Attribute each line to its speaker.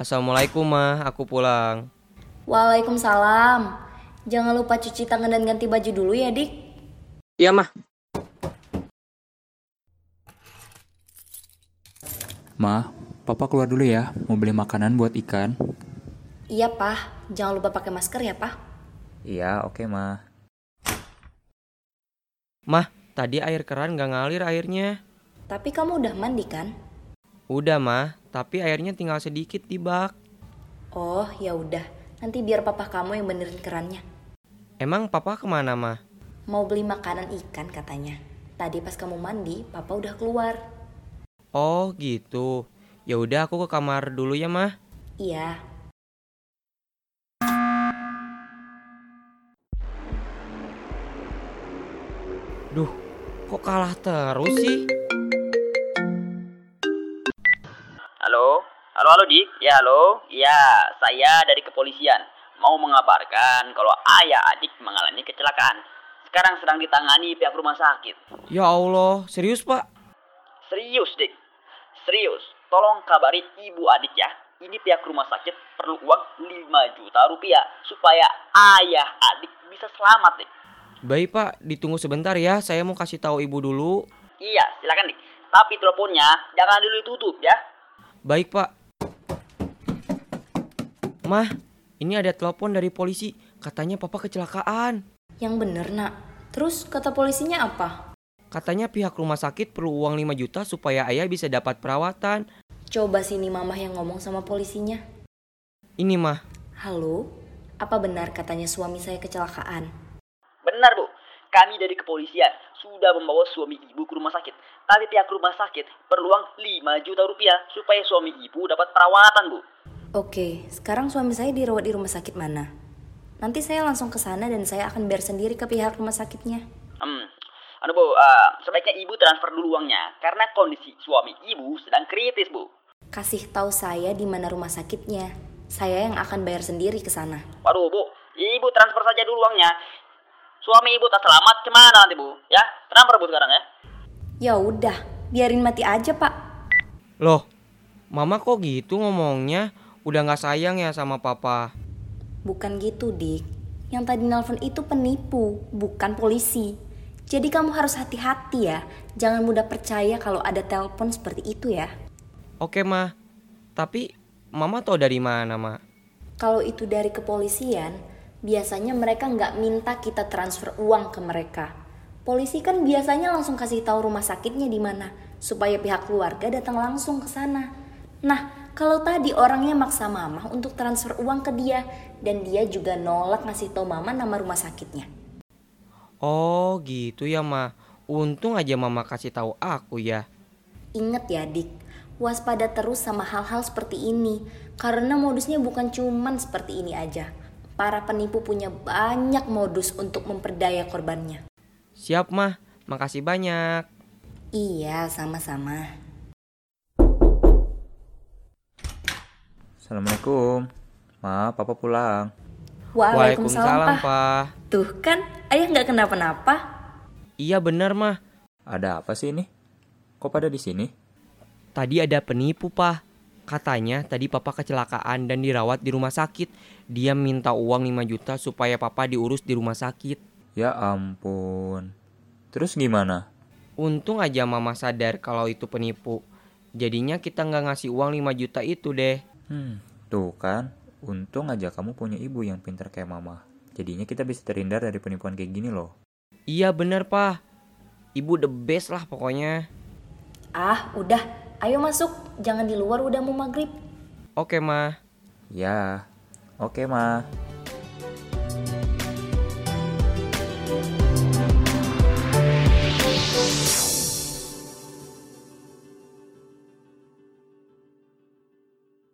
Speaker 1: Assalamualaikum mah, aku pulang.
Speaker 2: Waalaikumsalam. Jangan lupa cuci tangan dan ganti baju dulu ya, Dik.
Speaker 1: Iya mah.
Speaker 3: Ma, papa keluar dulu ya, mau beli makanan buat ikan.
Speaker 2: Iya, Pah. Jangan lupa pakai masker ya, Pah.
Speaker 3: Iya, oke ma.
Speaker 1: Mah, tadi air keran gak ngalir airnya.
Speaker 2: Tapi kamu udah mandi kan?
Speaker 1: Udah mah, tapi airnya tinggal sedikit di bak.
Speaker 2: Oh, ya udah. Nanti biar papa kamu yang benerin kerannya.
Speaker 1: Emang papa kemana mah?
Speaker 2: Mau beli makanan ikan katanya. Tadi pas kamu mandi, papa udah keluar.
Speaker 1: Oh gitu. Ya udah aku ke kamar dulu ya mah.
Speaker 2: Iya.
Speaker 1: Duh, kok kalah terus sih?
Speaker 4: Halo? Halo, halo, Dik. Ya, halo. Ya, saya dari kepolisian. Mau mengabarkan kalau ayah adik mengalami kecelakaan. Sekarang sedang ditangani pihak rumah sakit.
Speaker 1: Ya Allah, serius pak?
Speaker 4: Serius, Dik. Serius. Tolong kabari ibu adik ya. Ini pihak rumah sakit perlu uang 5 juta rupiah supaya ayah adik bisa selamat, Dik.
Speaker 1: Baik pak, ditunggu sebentar ya. Saya mau kasih tahu ibu dulu.
Speaker 4: Iya, silakan, Dik. Tapi teleponnya jangan dulu ditutup ya.
Speaker 1: Baik pak. Mah, ini ada telepon dari polisi. Katanya papa kecelakaan.
Speaker 2: Yang bener, Nak. Terus kata polisinya apa?
Speaker 1: Katanya pihak rumah sakit perlu uang 5 juta supaya ayah bisa dapat perawatan.
Speaker 2: Coba sini mamah yang ngomong sama polisinya.
Speaker 1: Ini mah,
Speaker 2: Halo? Apa benar katanya suami saya kecelakaan?
Speaker 4: Benar, Bu. Kami dari kepolisian sudah membawa suami ibu ke rumah sakit. Tapi pihak rumah sakit perlu uang 5 juta rupiah supaya suami ibu dapat perawatan, Bu.
Speaker 2: Oke, sekarang suami saya dirawat di rumah sakit mana? Nanti saya langsung ke sana dan saya akan bayar sendiri ke pihak rumah sakitnya.
Speaker 4: Hmm. Anu, Bu, eh, sebaiknya ibu transfer dulu uangnya karena kondisi suami ibu sedang kritis, Bu.
Speaker 2: Kasih tahu saya di mana rumah sakitnya. Saya yang akan bayar sendiri ke sana.
Speaker 4: Waduh, Bu, ibu transfer saja dulu uangnya. Suami ibu tak selamat kemana nanti, Bu? Ya, transfer, Bu, sekarang ya.
Speaker 2: Ya udah, biarin mati aja, Pak.
Speaker 1: loh, mama kok gitu ngomongnya? Udah nggak sayang ya sama papa?
Speaker 2: Bukan gitu, Dik. Yang tadi nelpon itu penipu, bukan polisi. Jadi kamu harus hati-hati ya. Jangan mudah percaya kalau ada telepon seperti itu ya.
Speaker 1: Oke mah, tapi mama tahu dari mana mah?
Speaker 2: Kalau itu dari kepolisian, biasanya mereka nggak minta kita transfer uang ke mereka. Polisi kan biasanya langsung kasih tahu rumah sakitnya di mana, supaya pihak keluarga datang langsung ke sana. Nah, kalau tadi orangnya maksa mama untuk transfer uang ke dia, dan dia juga nolak ngasih tahu mama nama rumah sakitnya.
Speaker 1: Oh gitu ya mah. Untung aja mama kasih tahu aku ya.
Speaker 2: Ingat ya dik, waspada terus sama hal-hal seperti ini Karena modusnya bukan cuman seperti ini aja Para penipu punya banyak modus untuk memperdaya korbannya
Speaker 1: Siap mah, makasih banyak.
Speaker 2: Iya, sama-sama
Speaker 3: Assalamualaikum. Ma, papa pulang.
Speaker 2: Waalaikumsalam, Pak
Speaker 1: Pak.
Speaker 2: Tuh kan, ayah nggak kenapa-napa
Speaker 1: Iya benar mah.
Speaker 3: Ada apa sih ini? Kok pada di sini?
Speaker 1: Tadi ada penipu pak. Katanya tadi papa kecelakaan dan dirawat di rumah sakit. Dia minta uang 5 juta supaya papa diurus di rumah sakit.
Speaker 3: Ya ampun. Terus gimana?
Speaker 1: Untung aja mama sadar kalau itu penipu. Jadinya kita nggak ngasih uang 5 juta itu deh.
Speaker 3: Hmm, tuh kan. Untung aja kamu punya ibu yang pinter kayak mama. Jadinya kita bisa terhindar dari penipuan kayak gini loh.
Speaker 1: Iya bener pak. Ibu the best lah pokoknya.
Speaker 2: Ah, udah, ayo masuk Jangan di luar udah mau maghrib
Speaker 1: Oke mah.
Speaker 3: Ya. Oke, Ma.